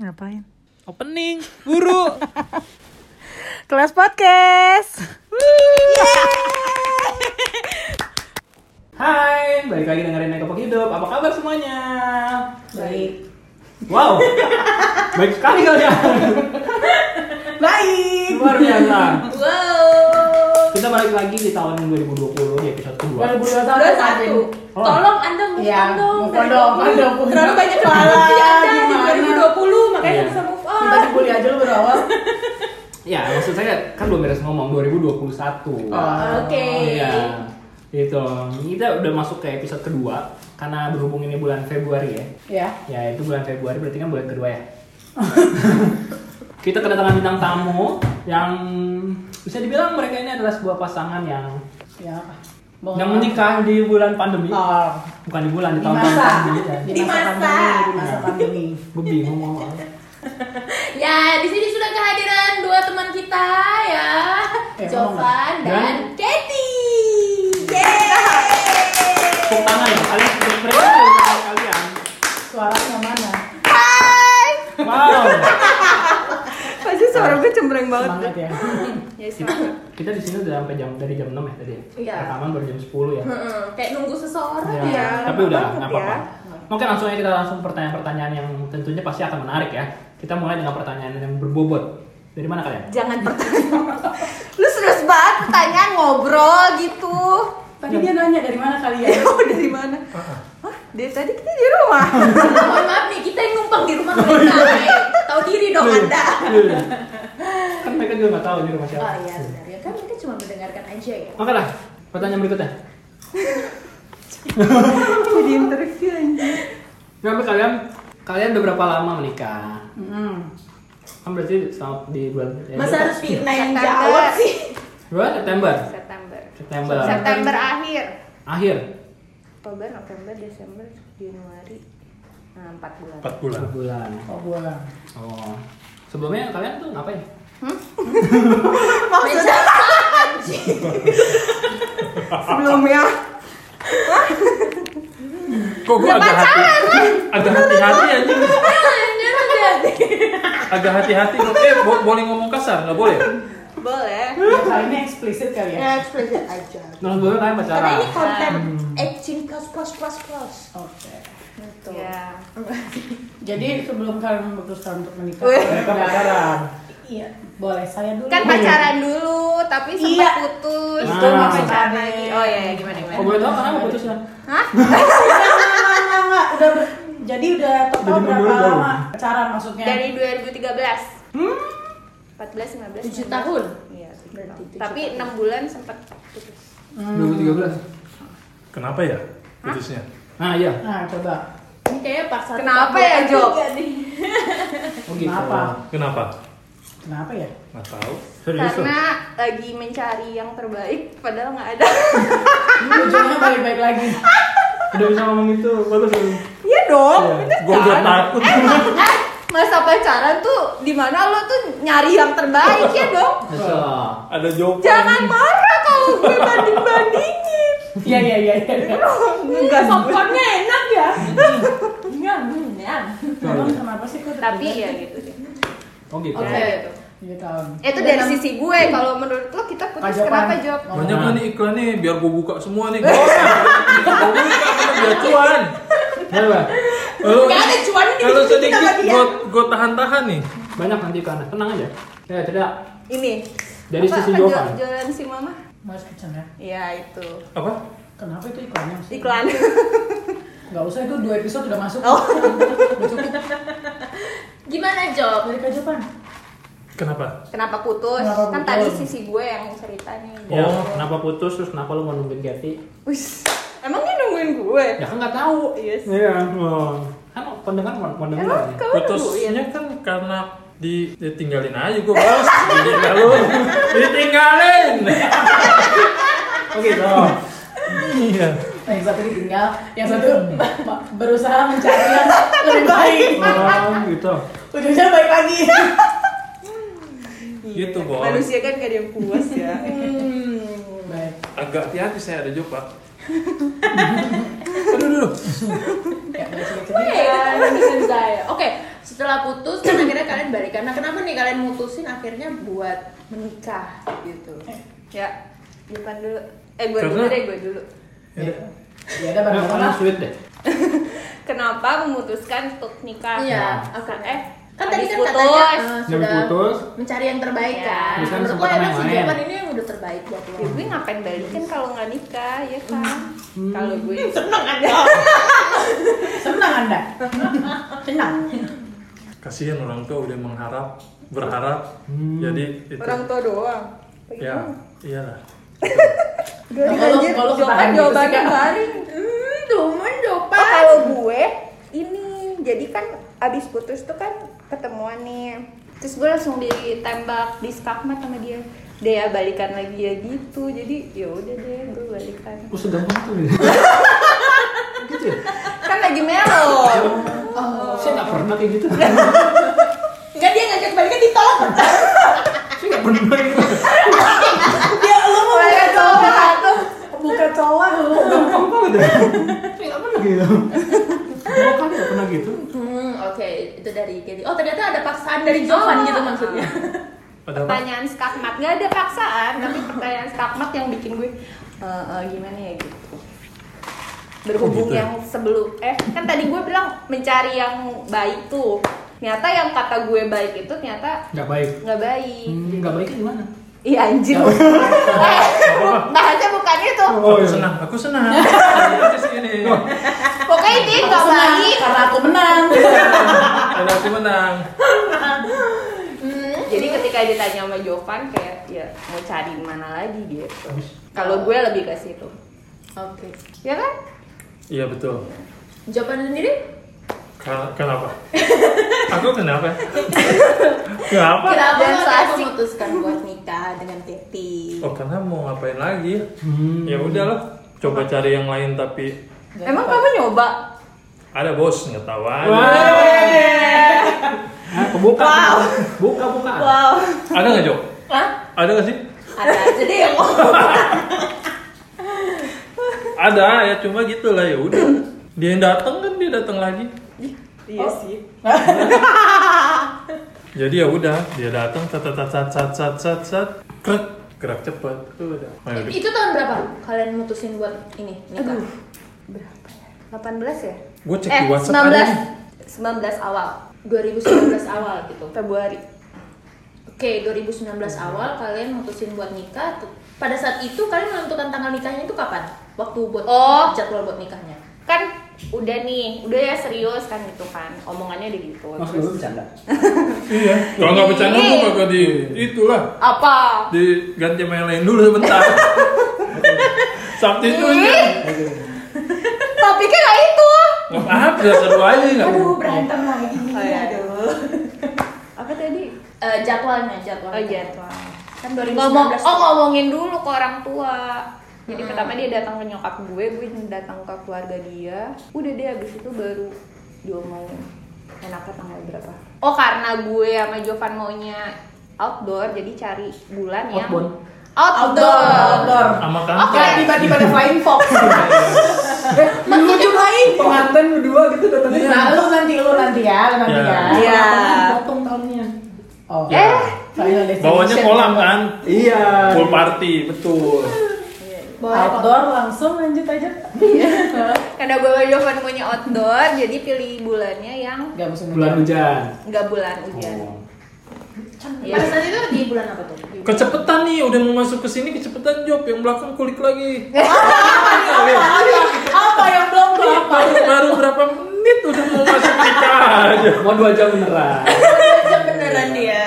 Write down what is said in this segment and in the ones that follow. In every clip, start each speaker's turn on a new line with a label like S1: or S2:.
S1: Ngapain?
S2: Opening, guru.
S1: Kelas podcast.
S2: Hai, balik lagi dengerin Nekopok Hidup. Apa kabar semuanya?
S1: Baik.
S2: Wow, baik sekali kalian.
S1: Baik.
S2: Luar biasa.
S3: Wow.
S2: Kita balik lagi di tahun 2020 episode kedua.
S3: Udah satu.
S2: Oh.
S3: Tolong Anda move
S1: Iya,
S3: on dong.
S1: move on dong,
S3: dari
S1: Anda
S3: 20.
S1: move on.
S3: Terlalu banyak kesalahan
S1: Iya,
S3: Anda
S1: gimana?
S3: di 2020, makanya
S2: Iya.
S3: harus bisa move on.
S1: Kita kuliah aja lu berawal.
S2: Ya, maksud saya kan belum beres ngomong 2021.
S1: Oh.
S3: Oke.
S2: Iya. Gitu. Kita udah masuk ke episode kedua karena berhubung ini bulan Februari ya.
S1: Ya.
S2: Ya itu bulan Februari berarti kan bulan kedua ya. kita kedatangan bintang tamu yang bisa dibilang mereka ini adalah sebuah pasangan yang
S1: Ya apa?
S2: yang menikah di bulan pandemi.
S1: Oh,
S2: Bukan di bulan di
S1: Di
S2: tahun
S1: masa.
S2: pandemi. ya.
S3: Di masa.
S1: pandemi, Di masa pandemi.
S2: Gue bingung mau apa.
S3: Ya, di sini sudah kehadiran dua teman kita ya,
S1: Eh,
S3: Jovan
S2: ngomong. Dan?
S3: dan Katie. Yeay.
S2: Tepuk tangan ya. Kalian tepuk mereka tepuk tangan kalian.
S1: Suaranya mana?
S3: Hai.
S2: Wow.
S4: Pasti suara gue cembreng banget.
S1: Semangat ya.
S4: Ya, semangat.
S2: Kita di sini udah sampai jam dari jam 6 ya tadi. ya?
S3: Iya.
S2: Rekaman baru jam 10 ya.
S3: Heeh, Kayak nunggu seseorang.
S2: Ya,
S4: Iya,
S2: tapi udah
S4: banget
S2: nggak apa-apa.
S4: ya.
S2: Mungkin langsung aja kita langsung pertanyaan-pertanyaan yang tentunya pasti akan menarik ya. Kita mulai dengan pertanyaan yang berbobot. Dari mana kalian?
S4: Jangan pertanyaan. Lu serius banget pertanyaan ngobrol gitu.
S1: Tadi dia nanya dari mana kalian?
S4: Ya udah dari mana? Hah? Dari tadi kita di rumah.
S3: Mohon Oh, maaf nih, kita yang numpang di rumah mereka. eh. Tahu diri dong Anda.
S2: Iya. kan mereka juga nggak tahu di rumah siapa.
S3: Oh iya, benar ya kan kita cuma mendengarkan aja ya.
S2: Oke lah, pertanyaan berikutnya.
S4: Jadi interview anjir.
S2: Kenapa Ya, kalian kalian udah berapa lama menikah?
S1: Hmm.
S2: Kan berarti selama di bulan ya,
S3: Masa harus Firna yang
S4: September.
S3: jawab sih?
S2: bulan September.
S4: September.
S2: September.
S4: September akhir.
S2: Akhir.
S4: Oktober, November, Desember, Januari. Nah, 4 bulan.
S5: 4 bulan.
S2: Bulan.
S1: Kok bola?
S2: Oh. Sebelumnya kalian tuh ngapain?
S4: Maksudnya sebelumnya
S5: Kok gua agak hati agak hati-hati anjing.
S3: Anjir, anjir.
S5: Agak hati-hati kok. Eh, bo- boleh ngomong kasar? Nggak boleh.
S4: boleh.
S1: Ya, kali ini eksplisit kali ya.
S4: Ya, eksplisit aja.
S2: Nah, sebelumnya kalian pacaran.
S3: Karena ini konten acting plus plus plus plus.
S1: Oke.
S3: Betul.
S4: Ya.
S1: Jadi sebelum kalian memutuskan untuk menikah,
S4: Wih.
S1: kalian
S2: Mereka
S1: udah-
S2: pacaran.
S1: Iya, boleh saya dulu.
S3: Iya.
S4: Kan pacaran dulu, tapi sempat
S1: Iya.
S4: putus.
S2: Nah.
S4: Itu masih
S1: Pacaran.
S4: pacaran lagi. Oh iya, iya, gimana
S2: Oh,
S4: gimana?
S2: boleh tahu kenapa putusnya?
S4: Hah?
S1: Enggak, enggak, enggak. Udah ber- jadi udah total
S2: Jadi
S1: berapa
S2: mundur dong.
S1: lama pacaran maksudnya?
S4: Dari 2013. 14 15
S3: Tujuh
S4: 19.
S3: tahun.
S4: Iya, tujuh
S3: Berarti
S4: tahun.
S3: tujuh
S4: Tapi
S3: tahun.
S4: 6 bulan sempat putus. Hmm.
S2: 2013.
S5: Kenapa ya? Putusnya.
S2: Nah, iya.
S1: Nah, coba.
S3: Ini kayaknya part satu.
S4: Kenapa
S3: part dua,
S4: ya,
S3: part
S4: Jo?
S3: tiga nih.
S2: Oh gitu.
S1: Kenapa?
S5: Kenapa?
S1: Kenapa ya?
S5: Nggak tahu.
S4: Karena lagi mencari yang terbaik padahal nggak ada.
S1: Ujungnya balik-balik lagi.
S2: Udah bisa ngomong gitu. itu, bagus dong.
S4: Iya dong.
S2: Iya.
S4: bener
S5: Gua udah
S4: kan?
S5: takut.
S4: Emang kan masa pacaran tuh dimana lo tuh nyari yang terbaik ya dong.
S2: Bisa.
S5: Ada jawaban.
S4: Jangan marah kalau gue banding bandingin.
S1: Iya, iya, iya. iya.
S4: Enggak
S3: Popcornnya enak ya. Iya, Enggak, enggak.
S1: Emang kenapa sih kok
S4: Tapi ya gitu deh.
S2: Oh gitu.
S4: Oke.
S1: Tiga tahun.
S4: Itu
S3: Iya,
S4: dari sisi gue kalau menurut lo kita putus
S1: Jawaban.
S4: kenapa Job?
S5: Banyak kan nih iklan nih, biar gua buka semua nih. Gua gua buka karena biar cuan.
S2: Kenapa?
S5: Kalau
S3: Nggak ada cuan di sini kita
S5: kalau sedikit
S4: ya.
S3: sama dia.
S5: gua gua tahan-tahan nih.
S2: Banyak nanti karena tenang aja. Ya, tidak.
S4: Ini.
S2: Dari
S4: Apa-
S2: sisi kan.
S4: apa
S2: Jovan.
S4: jual- Jualan si Mama?
S1: Mas Kitchen ya.
S4: Iya, itu.
S5: Apa?
S1: Kenapa itu iklannya sih?
S4: Iklan.
S1: Enggak usah itu dua episode udah masuk.
S4: Oh.
S1: Udah cukup.
S3: Gimana Jo?
S1: Dari kehidupan.
S5: Kenapa?
S4: Kenapa putus?
S1: Kenapa
S4: kan
S1: putus?
S4: tadi sisi gue yang cerita nih.
S5: Oh, Iya.
S2: Ya, kenapa putus terus kenapa lu mau nungguin Gati?
S4: Wis. Emang dia nungguin gue?
S2: Ya kan nggak tahu.
S4: Iya sih.
S2: Iya. Oh. Kan pendengar mau mau dengar.
S4: Emang
S2: nih.
S4: kamu nungguin?
S5: Putusnya kan karena di- ditinggalin aja gua, Bos. Ditinggal lu. Ditinggalin.
S4: Iya,
S2: Oh gitu.
S5: Iya.
S1: Nah, yang satu ditinggal, yang satu ba- berusaha mencari yang lebih baik.
S2: Oh gitu.
S1: Ujungnya baik lagi.
S5: Gitu, Bon.
S4: Manusia kan gak ada yang puas ya.
S1: Baik.
S5: Agak hati-hati saya ada Jopa.
S2: Aduh, aduh,
S5: lu.
S3: Weh,
S4: Iya.
S3: kita lanjutin saya. Oke, setelah putus kan akhirnya kalian balikan. Nah, kenapa nih kalian mutusin akhirnya buat menikah gitu?
S4: Ya, depan dulu. Eh, gue
S5: Karena-
S4: dulu deh, gue dulu.
S1: Ya. Ya ada
S2: Nah,
S1: barang-barang
S2: kalian sweet deh.
S4: Kenapa memutuskan untuk nikah?
S3: Iya,
S4: Nah,
S3: oke.
S4: Eh,
S3: Kan tadi
S4: habis
S3: kan
S4: putus.
S3: katanya eh,
S2: Demi
S3: sudah
S2: putus.
S3: mencari yang terbaik
S4: Iya.
S2: Terus
S3: kan.
S2: kan
S3: Menurut lo
S2: sempat
S3: emang
S2: main.
S3: si Javan ini yang udah terbaik buat lo.
S4: Ya, gue ngapain balikin kalau nggak nikah, ya kan? Kalau gue
S3: Seneng aja.
S1: Senang anda Senang
S5: Kasihan orang tua udah mengharap, berharap.
S2: Hmm.
S5: Jadi itu
S4: orang tua doang.
S5: ya iyalah.
S4: Udah
S1: Kalau-
S4: lanjut.
S1: kalau
S4: Jawaban
S1: ketahan
S4: jawabannya
S1: gitu sih, Kak.
S4: garing.
S3: Hmm, domen
S4: Oh, kalau gue ini jadi kan abis putus tuh kan ketemuan nih terus gue langsung ditembak di skakmat sama dia dia balikan lagi ya gitu jadi ya udah deh gue balikan
S2: Aku segampang tuh. ya? gitu ya?
S4: kan lagi melo Oh.
S2: Saya nggak pernah kayak gitu.
S3: Enggak dia ngajak balikan ditolak.
S2: Saya nggak pernah gitu.
S1: Ya lu
S4: Oh,
S1: mau buka
S4: iya,
S1: cowok Buka cowok lu
S2: Gampang banget ya. Saya nggak pernah gitu. Dua kali nggak pernah gitu.
S3: Hmm, oke, itu dari Kelly. Oh, ternyata ada paksaan dari Jovan
S4: Oh.
S3: gitu maksudnya.
S5: Ada apa?
S4: pertanyaan skakmat nggak ada paksaan tapi pertanyaan skakmat yang bikin gue eh, eh, gimana ya gitu berhubung
S5: Oh, gitu ya?
S4: yang sebelum eh kan tadi gue bilang mencari yang baik tuh ternyata yang kata gue baik itu ternyata
S2: Nggak baik.
S4: nggak baik
S2: Hmm, Nggak baiknya gimana?
S4: Iya anjir. Eh, Bahasnya bukan itu.
S2: Oh,
S5: aku
S2: iya.
S5: senang, aku senang. Terima kasih ini.
S2: Oh.
S4: Pokoknya dia nggak
S1: Senang
S4: baik.
S1: Karena aku menang
S5: Ada aku menang.
S4: Jadi ketika ditanya sama Jovan kayak ya mau cari mana lagi gitu.
S2: Habis.
S4: Kalau gue lebih ke situ.
S3: Oke.
S4: Ya kan?
S5: Iya betul.
S3: Jawaban sendiri?
S5: Ka- Kenapa? Aku kenapa? Kenapa?
S3: Kenapa
S4: Dan so
S3: kalian
S4: asik.
S3: memutuskan buat nikah dengan Teti?
S5: Oh karena mau ngapain lagi?
S2: Hmm.
S5: Ya udah lah, coba cari yang lain tapi
S4: Emang kamu nyoba?
S5: ada bos nggak tahu aja.
S2: Wah. Nah, kebuka. Buka, buka.
S4: Wow.
S5: Ada nggak Jok?
S3: Hah?
S5: Ada nggak sih?
S3: Ada aja deh yang ngomong.
S5: Ada ya cuma gitu lah ya udah. Dia yang datang kan dia datang lagi.
S4: Iya sih.
S5: Jadi ya udah dia datang cat cat cat cat cat cat cat krek gerak cepat udah. Ayo,
S3: Itu-
S5: udah.
S3: Itu tahun berapa kalian mutusin buat ini nikah?
S4: Aduh. Berapa ya? 18 ya?
S5: Gua cek
S4: eh,
S5: di WhatsApp aja nih.
S4: 19. 19 awal
S3: 2019 awal gitu.
S4: Februari.
S3: Oke, 2019 awal kalian mutusin buat nikah. Pada saat itu kalian menentukan tanggal nikahnya itu kapan? Waktu buat
S4: Oh.
S3: jadwal buat nikahnya.
S4: Kan udah nih, udah ya serius kan gitu kan. Omongannya udah gitu.
S2: Maksud
S4: Terus-
S2: lu bercanda?
S5: Iya. Kalau nggak bercanda gua bakal di itulah
S4: Apa?
S5: diganti sama yang lain dulu sebentar. Sabtu itu aja.
S4: Ih, tapi kan nggak itu.
S5: Nggak apa-apa, seru aja nggak.
S1: Aduh berantem lagi
S4: Oh, iya.
S1: Aduh
S4: Apa tadi?
S3: Eh, jadwalnya, jadwalnya.
S4: Oh jadwal.
S3: Kan 2019.
S4: Ngomong, oh
S3: tuh.
S4: ngomongin dulu ke orang tua. Jadi pertama dia datang ke nyokap gue, gue datang ke keluarga dia. Udah deh abis itu baru diomongin. Enaknya tanggal berapa? Oh karena gue sama Jovan maunya outdoor, jadi cari bulan yang
S2: Outbound.
S1: Outdoor
S4: outdoor.
S1: Outdoor
S5: Sama
S4: Oke.
S5: kantor.
S1: Kayak tiba-tiba ada flying fox Lu juga ini Pengantin berdua gitu datangnya Nah lu nanti, lu nanti ya Lu nanti
S5: Iya.
S1: ya
S4: Iya.
S1: Potong tahunnya Oh
S5: Ya.
S4: Eh.
S1: Final destination.
S5: Bawanya kolam kan?
S2: Iya.
S5: Pool party, betul.
S3: Bawa apa?
S1: Outdoor langsung lanjut aja
S4: Karena gue sama Jovan maunya outdoor, jadi pilih bulannya yang
S1: Gak musim
S2: Bulan hujan.
S4: nggak bulan hujan.
S2: Oh.
S4: Iya.
S3: Pada saat itu di bulan apa tuh? Di-
S5: Kecepetan nih, udah mau masuk ke sini kecepetan Job yang belakang kulik lagi. Iya,
S1: Apa yang belum tuh apa?
S5: Baru, baru berapa menit udah mau masuk nikah aja.
S2: Mau dua jam beneran.
S3: Kerja beneran dia.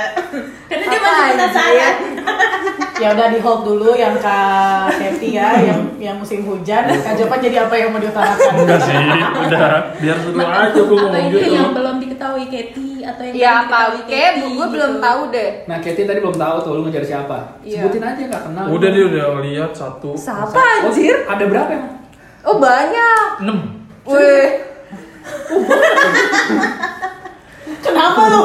S3: Karena
S4: Iya.
S3: dia masih
S4: Apaan,
S3: kita
S4: dia?
S3: sayang.
S1: Ya udah di hold dulu yang Kak Seti ya, yang yang musim hujan. Kak Jopan jadi apa yang mau diutarakan?
S5: Enggak sih, udah biar seru aja
S3: Apa
S5: gue ngomong
S3: itu
S5: gitu.
S3: yang belum diketahui Katie atau yang
S4: Ya
S3: belum diketahui
S4: apa? Kayak
S3: Katie,
S4: gue
S3: gitu.
S4: belum tahu deh.
S2: Nah, Katie tadi belum tahu tuh lu ngejar siapa.
S4: Iya.
S2: Sebutin aja nggak kenal.
S5: Udah dia udah lihat satu,
S4: Siapa
S2: Oh,
S4: anjir?
S2: ada berapa emang?
S4: Oh banyak.
S5: enam.
S4: Weh.
S1: Kenapa lu?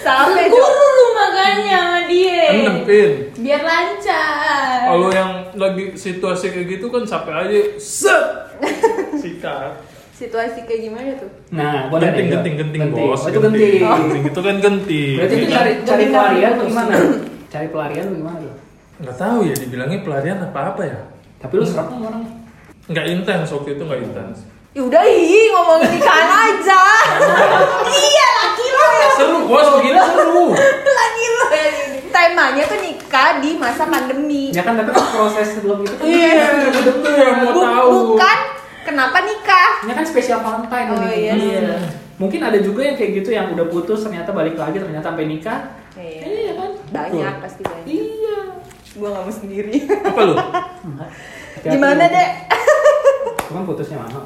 S4: Sampai Cok.
S3: Guru lu makanya sama dia.
S5: Enam pin.
S3: Biar lancar.
S5: Kalau yang lagi situasi kayak gitu kan sampai aja set. Si sikat.
S4: situasi kayak gimana tuh
S2: Nah, boleh nih,
S5: Genting, genting, ya? genting,
S2: genting.
S5: bos.
S2: Oh, itu genting.
S5: Genting itu kan genting.
S2: Berarti itu
S5: Ini
S2: cari
S1: Genting.
S2: cari pelarian tuh gimana? Cari pelarian tuh gimana tuh?
S5: nggak tahu ya, dibilangnya pelarian apa apa ya?
S2: Tapi lu serap sama orangnya.
S5: Nggak intens waktu itu nggak intens.
S4: ya udah ih ngomongin nikahan aja iya laki lo ya
S5: Seru bos, begini seru.
S4: laki lo ya temanya tuh nikah di masa pandemi
S2: Ya kan tapi proses sebelum itu kan
S5: Iya, betul yang mau
S4: Bu-
S5: tahu.
S4: bukan kenapa nikah
S2: Ini kan spesial Valentine
S4: Oh,
S2: nih.
S4: iya.
S2: Hmm. Mungkin ada juga yang kayak gitu yang udah putus ternyata balik lagi ternyata sampai nikah.
S4: Iya.
S2: Iya kan?
S4: banyak pasti banyak
S2: Iya.
S4: gue nggak mau sendiri
S5: Apa lu?
S2: Hati-hati
S4: gimana
S2: lu.
S4: dek
S2: Cuman putusnya mana?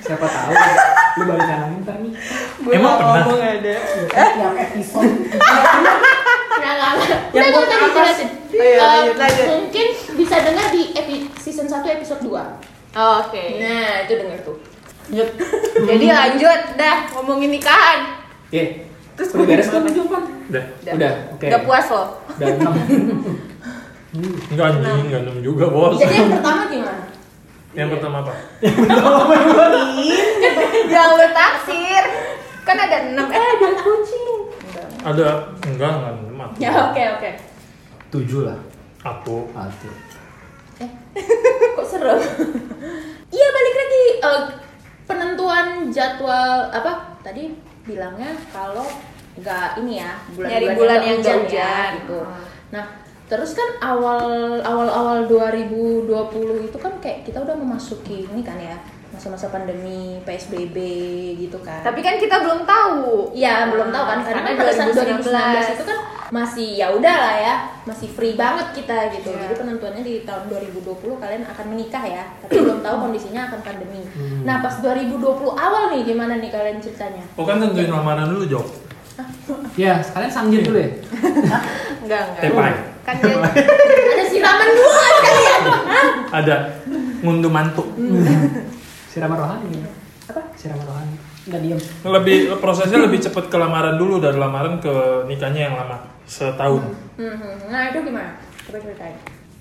S2: Siapa tahu lu balikan lagi ntar nih.
S4: Gua
S5: Emang
S4: nggak
S5: pernah?
S4: ngomong ada
S1: Eh, yang episode
S3: Nah, nggak, nggak.
S1: Yang
S3: Udah, nggak
S1: kota
S3: usah
S1: atas.
S3: dijelasin.
S4: Oh, iya,
S3: Eh,
S4: lanjut, lanjut.
S3: Mungkin bisa dengar di epi- season 1 episode 2
S4: Oh, oke
S3: Nah, itu denger tuh
S4: jadi lanjut dah ngomongin nikahan
S2: Ye. Terus udah beres kan lu jawaban?
S5: Dah.
S2: Udah, oke.
S4: Udah puas loh.
S2: Udah enam.
S5: Enggak anjing, enggak enam juga bos.
S3: Jadi yang pertama gimana?
S5: Yang pertama apa?
S4: Jangan bertaksir. Ya Kan ada enam. Eh ada kucing.
S5: Ada enggak enggak enam aku.
S3: Ya, oke, oke
S2: Tujuh lah.
S5: Aku
S2: Satu.
S3: Eh, Kok serem? Iya, balik lagi Eh, Penentuan jadwal, apa? Tadi bilangnya kalau nggak ini ya
S4: Nyari
S3: Bulan-bulan
S4: bulan yang
S3: nggak
S4: nggak hujan.
S3: gitu.
S4: Hmm.
S3: Nah, terus kan awal awal awal 2020 itu kan kayak kita udah memasuki ini kan ya masa-masa pandemi PSBB gitu kan.
S4: Tapi kan kita belum tahu.
S3: Iya belum tahu kan karena kan pada saat 2019 itu kan masih ya udah lah ya masih free banget kita gitu
S4: Iya.
S3: jadi penentuannya di tahun 2020 kalian akan menikah ya tapi belum tahu kondisinya akan pandemi nah pas 2020 awal nih gimana nih kalian ceritanya
S5: Oh kan tentuin lamaran dulu, Jok.
S2: Ya, sekalian sanggir dulu ya.
S4: Enggak enggak.
S5: Tepai.
S4: Kan dia
S3: ada siraman dua kalian
S5: Ada ngunduh mantu.
S2: Siraman rohani.
S3: Apa?
S2: Siraman rohani. Enggak diem.
S5: Lebih prosesnya lebih cepat ke lamaran dulu dari lamaran ke nikahnya yang lama setahun.
S3: Mhm. nah itu gimana coba ceritain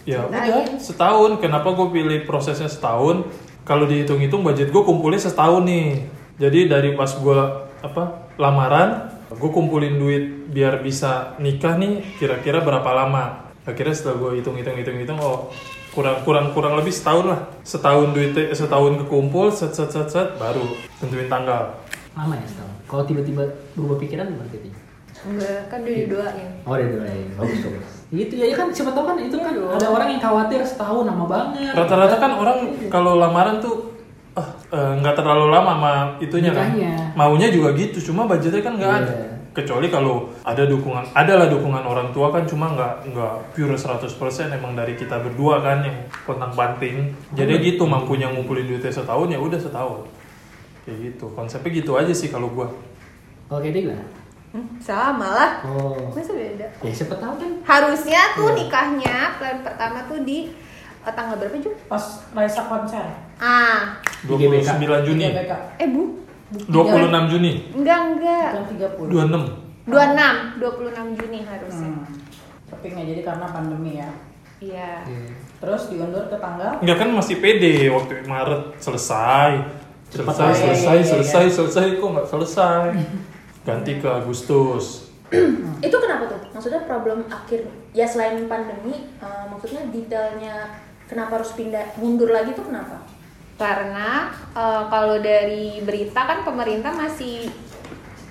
S5: Ya
S1: eh,
S5: udah setahun. Kenapa gue pilih prosesnya setahun? Kalau dihitung-hitung budget gue kumpulin setahun nih. Jadi dari pas gue apa lamaran, gue kumpulin duit biar bisa nikah nih. Kira-kira berapa lama? Akhirnya setelah gue hitung-hitung-hitung-hitung, oh kurang kurang kurang lebih setahun lah. Setahun duit setahun kekumpul, set set set set baru tentuin tanggal.
S2: Lama ya setahun. Kalau tiba-tiba berubah pikiran berarti itu.
S4: enggak kan udah didoain.
S2: Oh, udah doain. Bagus, bagus. Gitu ya, ya kan siapa tahu kan itu kan
S4: Iya,
S2: ada orang yang khawatir setahun lama banget.
S5: Rata-rata kan orang kalau lamaran tuh ah, eh, nggak terlalu lama sama itunya kan.
S2: Nikahnya.
S5: Maunya juga gitu, cuma budgetnya kan nggak ada.
S2: Iya.
S5: Kecuali kalau ada dukungan, adalah dukungan orang tua kan cuma nggak nggak pure 100% emang dari kita berdua kan yang kontang banting. Jadi gitu mampunya ngumpulin duitnya setahun ya udah setahun. Kayak gitu. Konsepnya gitu aja sih kalau gua.
S2: Kalau kayak dia gimana?
S4: Hmm, sama lah.
S2: Oh.
S4: Masa beda.
S2: Ya siapa tahu kan
S4: Harusnya tuh nikahnya plan pertama tuh di eh, tanggal berapa Jun?
S1: pas Raisa konser Iya,
S4: Ah,
S2: Di GBK.
S5: 29 Juni,
S1: GBK
S4: eh Bu,
S5: 26 Juni,
S4: enggak enggak.
S1: jam 30
S5: 26.
S4: 26, 26 Juni harusnya.
S1: Hmm. tapi nggak jadi karena pandemi ya
S4: Iya.
S1: terus diundur ke tanggal
S5: Enggak kan masih pede waktu Maret selesai.
S2: Cepat
S5: Selesai,
S1: lah.
S5: selesai,
S1: Iya, iya, iya,
S5: selesai, selesai, kok nggak selesai. Ganti ke Agustus.
S3: Hmm. itu kenapa tuh maksudnya problem akhir ya selain pandemi eh, maksudnya detailnya kenapa harus pindah mundur lagi tuh kenapa
S4: karena eh, kalau dari berita kan pemerintah masih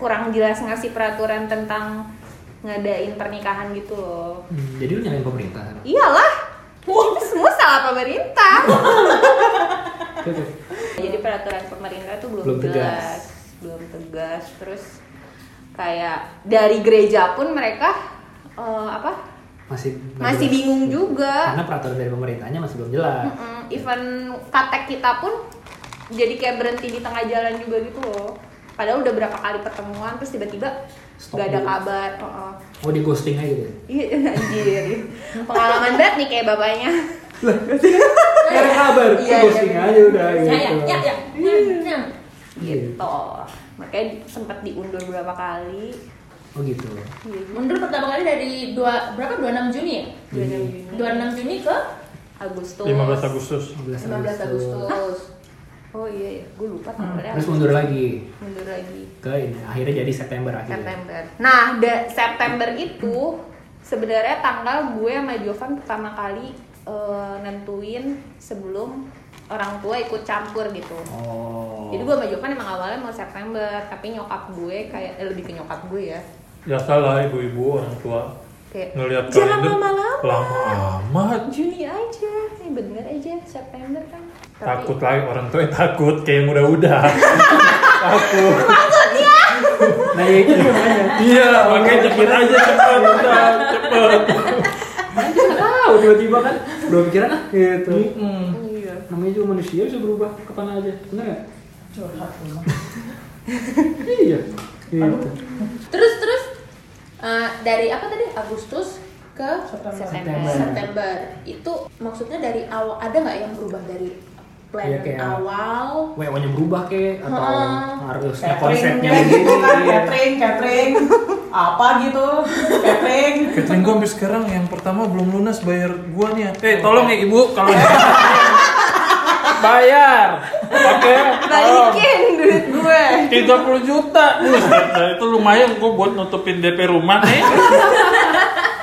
S4: kurang jelas ngasih peraturan tentang ngadain pernikahan gitu loh
S2: Hmm, jadi lu nyalain pemerintah. kan?
S4: Iya. iyalah semua salah pemerintah
S2: Oke, oke.
S4: jadi peraturan pemerintah tuh belum,
S2: Belum tegas.
S4: jelas belum tegas terus kayak dari gereja pun mereka eh, apa
S2: Masih
S4: masih bingung juga
S2: Karena peraturan dari pemerintahnya masih belum jelas.
S4: Mm-mm. even katek kita pun jadi kayak berhenti di tengah jalan juga gitu loh padahal udah berapa kali pertemuan terus tiba-tiba
S2: Stop
S4: nggak ada
S2: dulu.
S4: kabar Heeh.
S2: Oh, di ghosting aja gitu.
S4: Iya, anjir pengalaman berat nih kayak bapaknya
S2: Gak ada kabar,
S4: Iya,
S2: di ghosting
S4: iya.
S2: aja udah gitu.
S3: ya ya ya ya ya, ya.
S2: Iya.
S4: gitu makanya sempat diundur berapa kali
S2: Oh gitu.
S4: Iya, gitu.
S3: Mundur pertama kali dari dua berapa 26 Juni ya?
S2: Iya.
S4: 26 Juni
S3: 26 Juni ke
S4: Agustus
S5: 15 Agustus.
S2: 15
S3: 15 Agustus.
S4: oh iya ya gue lupa tanggalnya
S2: Hmm. Terus Iya. mundur lagi
S4: mundur lagi
S2: ke ini. akhirnya jadi September akhirnya.
S4: September. Nah, da- September itu sebenarnya tanggal gue sama Jovan pertama kali eh, nentuin sebelum orang tua ikut campur gitu.
S2: Oh.
S4: Jadi gue sama Jovan emang awalnya mau September, tapi nyokap gue kayak eh, lebih ke nyokap gue ya.
S5: Ya salah ibu-ibu orang tua
S4: Kayak
S5: ngelihat
S4: jangan
S5: kalender,
S4: lama-lama.
S5: lama amat.
S4: Juni aja, eh, bener aja September kan. Tapi-
S5: Takut lagi orang tua takut kayak yang udah-udah. takut.
S2: Nah ya itu dia makanya.
S5: Iya, makanya cepet aja cepet udah cepet.
S2: Kan kita nggak tahu tiba-tiba kan belum pikiran ah gitu.
S5: Mm-mm.
S4: Iya.
S2: Namanya juga manusia bisa berubah kapan aja, bener nggak?
S1: curhat rumah
S2: Iya. Gitu.
S3: Terus terus eh, dari apa tadi Agustus ke
S1: September
S4: September.
S3: September itu maksudnya dari awal ada nggak yang berubah dari plan
S2: Iya, kayak-
S3: awal?
S2: WO-nya berubah kek atau
S3: Heeh.
S2: harusnya
S1: catering
S2: konsepnya
S1: kayak gitu
S2: begini.
S1: kan
S2: iya.
S1: catering catering apa gitu catering
S5: Catering gua sampai sekarang yang pertama belum lunas bayar gua nih. ya. Eh, tolong ya Ibu kalau bayar. Oke. tolong.
S4: Balikin
S1: Oh.
S4: duit gue.
S5: 30 juta. Buset, nah itu lumayan gua buat nutupin DP rumah nih.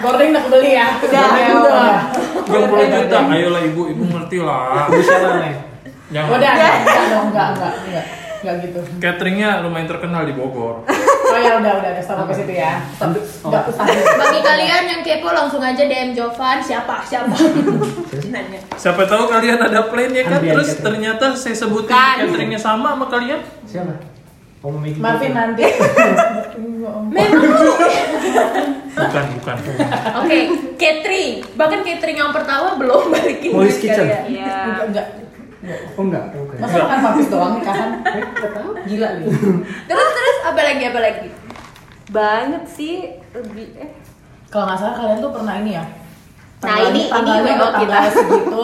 S1: gordeng udah beli ya udah udah
S5: 30 juta. Ayolah Ibu, Ibu ngerti lah.
S2: Siapa nih?
S5: Yang
S1: udah enggak dong enggak enggak enggak enggak gitu
S5: cateringnya lumayan terkenal di Bogor.
S1: oh ya udah udah udah stop ke situ ya
S2: Tapi
S1: enggak usah
S3: Bagi kalian yang kepo langsung aja DM Jovan siapa siapa. Nanya.
S5: Siapa tahu kalian ada plan ya kan?
S2: Ambil
S5: Terus
S2: catering.
S5: ternyata saya sebutin
S4: Bukan.
S5: cateringnya sama sama kalian.
S2: Siapa? Om Miki.
S1: Marvin nanti
S5: Bukan, bukan.
S3: Oke, catering. Bahkan catering yang pertama belum balikin
S2: Police
S3: duit
S2: kitchen.
S3: kalian.
S4: Iya.
S1: enggak enggak
S2: Oh enggak. Oke.
S1: masa makan papis doang nikahan gila gitu. lu
S3: Terus terus apa lagi apa lagi?
S4: Banget sih lebih eh
S1: kalau nggak salah kalian tuh pernah ini ya
S3: Nah, ini- ini
S1: tanggalnya
S3: WO
S1: udah tanggal
S3: kita.
S1: segitu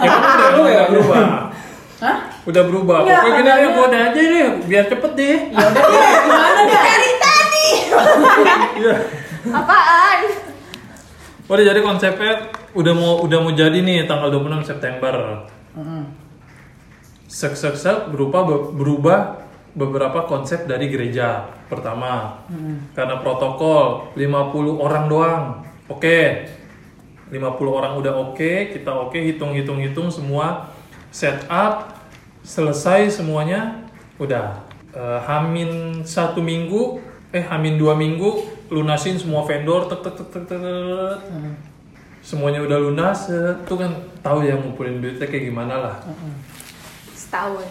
S5: Ya kan udah, udah berubah.
S1: Hah?
S5: Udah berubah.
S1: Iya,
S5: Pokoknya gini
S1: tandanya.
S5: deh, kode aja deh, biar cepet deh.
S1: ya udah deh gimana deh
S3: Dari tadi.
S5: Iya.
S4: apaan?
S5: Udah jadi konsepnya udah mau udah mau jadi nih tanggal 26 September.
S1: Mm-mm.
S5: Sek sek sek berupa berubah beberapa konsep dari gereja. Pertama, karena protokol 50 orang doang. Oke. 50 orang udah oke, kita oke hitung-hitung-hitung semua setup selesai semuanya udah Eh, hamin satu minggu eh hamin dua minggu lunasin semua vendor tek tek tek tek tek, tek. semuanya udah lunas eh, tuh kan tahu ya ngumpulin duitnya kayak gimana lah
S4: Setahun.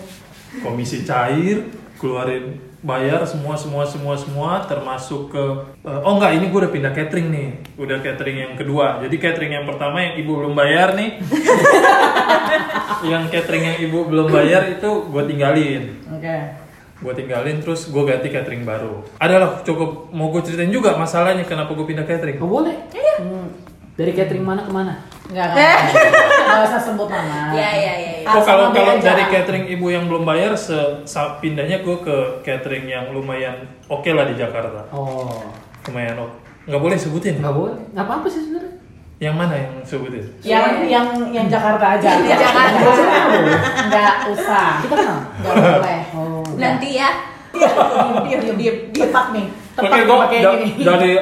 S5: komisi cair keluarin bayar semua semua semua semua termasuk ke eh, oh enggak ini gue udah pindah catering nih udah catering yang kedua jadi catering yang pertama yang ibu belum bayar nih yang catering yang ibu belum bayar itu gue tinggalin
S1: oke
S5: gue tinggalin terus gue ganti catering baru adalah cukup mau gue ceritain juga masalahnya kenapa gue pindah catering
S2: Oh boleh.
S1: Iya.
S2: Dari catering mana ke mana?
S1: Enggak, enggak. Enggak usah sebut nama.
S2: Ah.
S1: Ah,
S3: Ya ya ya. ya.
S5: Oh kalau
S1: Sama
S5: kalau
S1: beda.
S5: dari catering ibu yang belum bayar se sa- pindahnya gue ke catering yang lumayan oke lah di Jakarta
S2: Oh.
S5: lumayan oke nggak boleh sebutin
S2: Enggak boleh. Enggak apa-apa sih sebenarnya.
S5: yang mana yang sebutin
S1: Yang yang yang Jakarta aja.
S4: Yang Jakarta.
S1: Enggak usah.
S2: Kita kenal.
S1: Enggak boleh.
S2: Oh.
S3: Nanti ya.
S1: Diam diam diam. Tepak nih.
S5: oke
S1: Tepak
S5: gue
S1: pakai
S5: da-
S1: ini.
S5: dari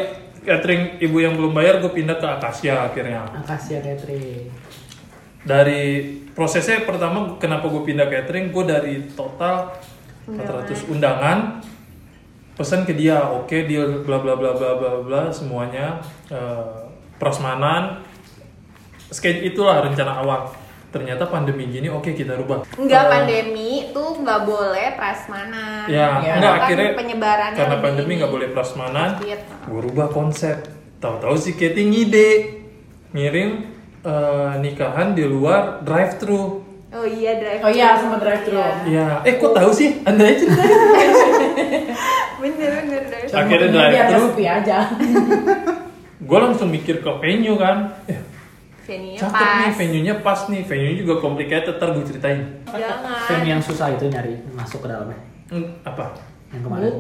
S5: catering ibu yang belum bayar gue pindah ke Akasia akhirnya
S2: Makasih ya catering.
S5: dari prosesnya pertama kenapa gue pindah catering gue dari total 400 undangan pesan ke dia oke dia bla bla bla bla bla bla semuanya eh, prasmanan sketch itulah rencana awal ternyata pandemi gini oke kita rubah
S4: Enggak
S5: Eh,
S4: pandemi tuh nggak boleh prasmanan.
S5: ya,
S1: Ya,
S5: enggak
S4: kan
S5: akhirnya
S4: penyebarannya
S5: karena
S4: lebih
S5: pandemi
S4: ini.
S5: nggak boleh prasmanan
S4: Sakit.
S5: gue rubah konsep tahu-tahu si Katie ngide ngirim eh, nikahan di luar drive thru
S4: Oh iya drive.
S1: Oh iya, sama drive-thru.
S5: Iya, eh kok tahu sih? Anda aja cerita.
S4: Bener bener drive.
S1: Cuma
S5: Akhirnya
S1: ini
S5: drive
S1: biar
S5: thru.
S1: sepi aja.
S5: Gue langsung mikir ke venue kan. Eh,
S4: Venue
S5: cakep nih
S4: pas.
S5: venue-nya pas nih. Venue juga complicated, ntar gue ceritain.
S4: Jangan.
S2: Film yang susah itu nyari masuk ke dalamnya.
S5: Hmm, apa?
S2: Yang kemarin.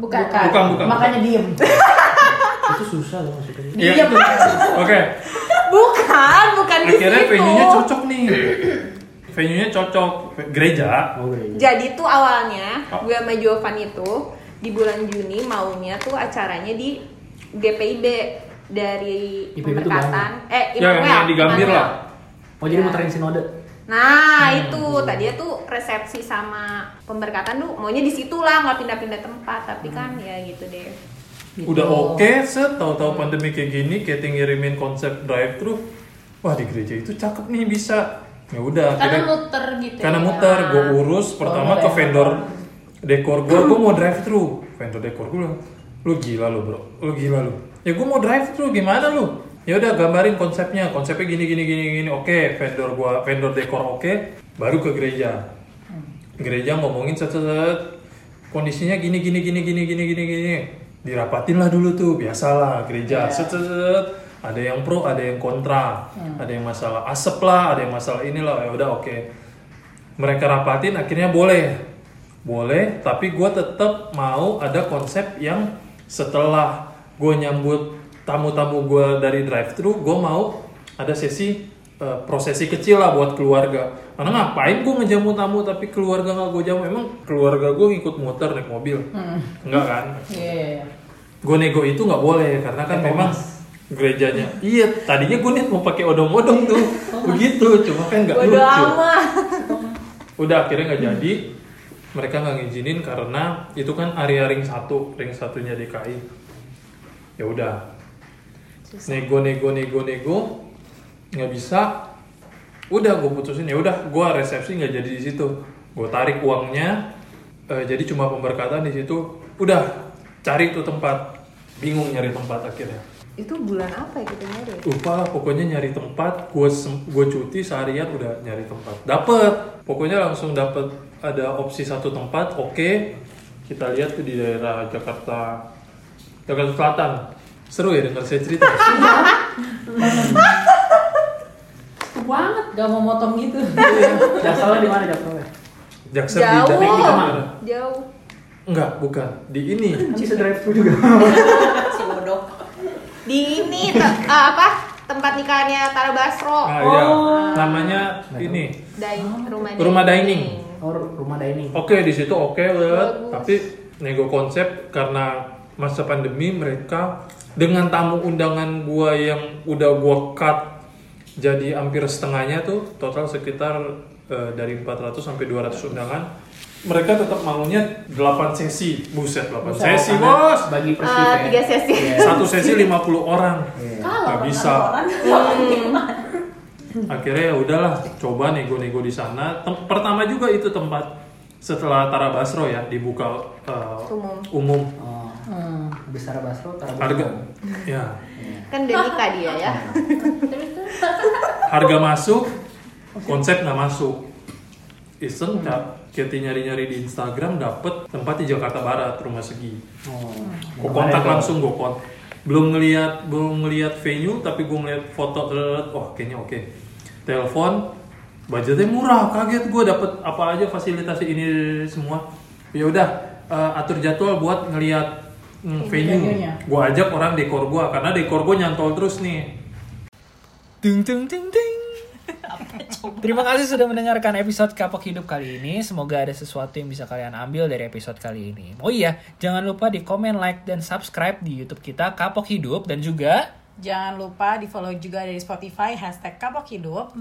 S1: Bukan.
S5: Bukan, bukan.
S1: Makanya diem.
S2: Itu susah loh maksudnya.
S5: Iya
S1: Diam.
S5: itu. Oke,
S4: Bukan, bukan Kan di
S5: akhirnya
S4: situ.
S5: venue-nya cocok nih. venue-nya cocok gereja.
S2: Oh, gereja.
S4: Jadi tuh awalnya
S5: Oh.
S4: gue sama Jovan itu di bulan Juni maunya tuh acaranya di GPIB dari
S2: IPB tuh
S4: pemberkatan eh
S5: Ya, yang-
S4: Immanuel,
S5: yang di Gambir
S4: Immanuel.
S5: lah.
S2: Oh jadi
S4: Ya.
S2: muterin sinode.
S4: Nah itu tadinya tuh resepsi sama pemberkatan tuh maunya di situ lah nggak pindah-pindah tempat tapi kan ya gitu deh. Gitu.
S5: Udah oke, set tahu-tahu pandemi kayak gini, kita ngirimin konsep drive thru. Wah, di gereja itu cakep nih bisa. Ya udah,
S3: Karena
S5: akhirnya-
S3: muter gitu. ya.
S5: Karena
S3: Oh, iya.
S5: muter, gue urus pertama ke vendor dekor gue, gue mau drive thru. Vendor dekor gue bilang, lu gila lu bro, lu gila lu. Ya gue mau drive thru gimana lu? Ya udah gambarin konsepnya, konsepnya gini gini gini gini. Oke, vendor gua, vendor dekor oke, baru ke gereja. Gereja ngomongin set set, set. kondisinya gini gini gini gini gini gini gini. Dirapatin lah dulu tuh, biasalah gereja.
S3: Iya.
S5: Set, set, set. Ada yang pro, ada yang kontra,
S3: Hmm.
S5: ada yang masalah asap lah, ada yang masalah inilah. Ya udah oke mereka rapatin akhirnya boleh boleh tapi gue tetap mau ada konsep yang setelah gue nyambut tamu-tamu gue dari drive thru gue mau ada sesi eh, prosesi kecil lah buat keluarga karena ngapain gue ngejamu tamu tapi keluarga nggak gue jamu emang keluarga gue ngikut muter naik mobil enggak kan
S1: Iya.
S5: gue nego itu nggak boleh karena kan memang gerejanya iya tadinya gue niat mau pakai odong-odong tuh begitu cuma kan nggak lucu
S4: Bodo amat.
S5: udah akhirnya nggak jadi mereka nggak ngizinin karena itu kan area ring satu ring satunya DKI ya udah nego nego nego nego nggak bisa udah gue putusin ya udah gue resepsi nggak jadi di situ gue tarik uangnya eh, jadi cuma pemberkatan di situ udah cari tuh tempat bingung nyari tempat akhirnya
S4: Itu bulan apa ya kita nyari?
S5: lupa lah pokoknya nyari tempat gue gue cuti seharian udah nyari tempat dapet pokoknya langsung dapet ada opsi satu tempat oke kita lihat tuh di daerah Jakarta Jakarta Selatan seru ya dengar saya cerita
S1: Cukup banget, gak mau motong gitu.
S2: Jakselnya di mana jakselnya?
S5: Jaksel di
S4: Jauh,
S5: daerah
S4: jauh.
S5: enggak bukan di ini
S2: Bisa drive thru juga.
S3: Si bodoh.
S4: Di ini te- eh, apa tempat nikahnya Tara Basro.
S5: ah, iya. namanya ini
S4: Dain, rumah,
S5: Rumah dining.
S2: Oh rumah dining.
S5: oke di situ oke lihat
S4: Bagus.
S5: tapi nego konsep karena masa pandemi mereka dengan tamu undangan gua yang udah gua cut jadi hampir setengahnya tuh total sekitar eh, dari 400 sampai 200 undangan mereka tetap maunya 8 sesi buset 8 sesi bos
S4: Eh,
S2: Bagi presiden. Iya.
S4: tiga sesi.
S5: satu sesi 50 orang nggak bisa akhirnya ya udahlah coba nego-nego di sana Tem- pertama juga itu tempat setelah Tara Basro ya dibuka eh,
S4: Umum.
S5: umum
S2: Oh.
S4: Hmm.
S2: Besar Basro, Tara Basro.
S5: harga ya
S4: Kan udah nikah dia ya.
S5: harga masuk konsep nggak masuk iseng kita nyari-nyari di Instagram dapet tempat di Jakarta Barat rumah segi
S2: Oh.
S5: gue kontak langsung gue kontak belum ngelihat belum ngelihat venue tapi gue ngeliat foto telet, wah kayaknya oke telepon budgetnya murah kaget gue dapet apa aja fasilitas ini semua ya udah eh, atur jadwal buat ngelihat mm, venue
S1: venue-nya.
S5: gue ajak orang dekor gue karena dekor gue nyantol terus nih
S6: Dung dung dung dung. Terima kasih sudah mendengarkan episode Kapok Hidup kali ini. Semoga ada sesuatu yang bisa kalian ambil dari episode kali ini. Oh iya, jangan lupa di komen, like, dan subscribe di YouTube kita Kapok Hidup dan juga
S7: Jangan lupa di follow juga dari Spotify hashtag kapok hidup.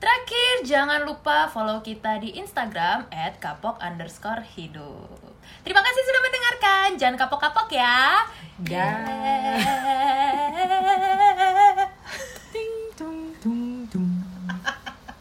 S3: Terakhir, jangan lupa follow kita di Instagram at kapok underscore hidup. Terima kasih sudah mendengarkan. Jangan kapok-kapok ya.
S7: Dah.
S3: Eh.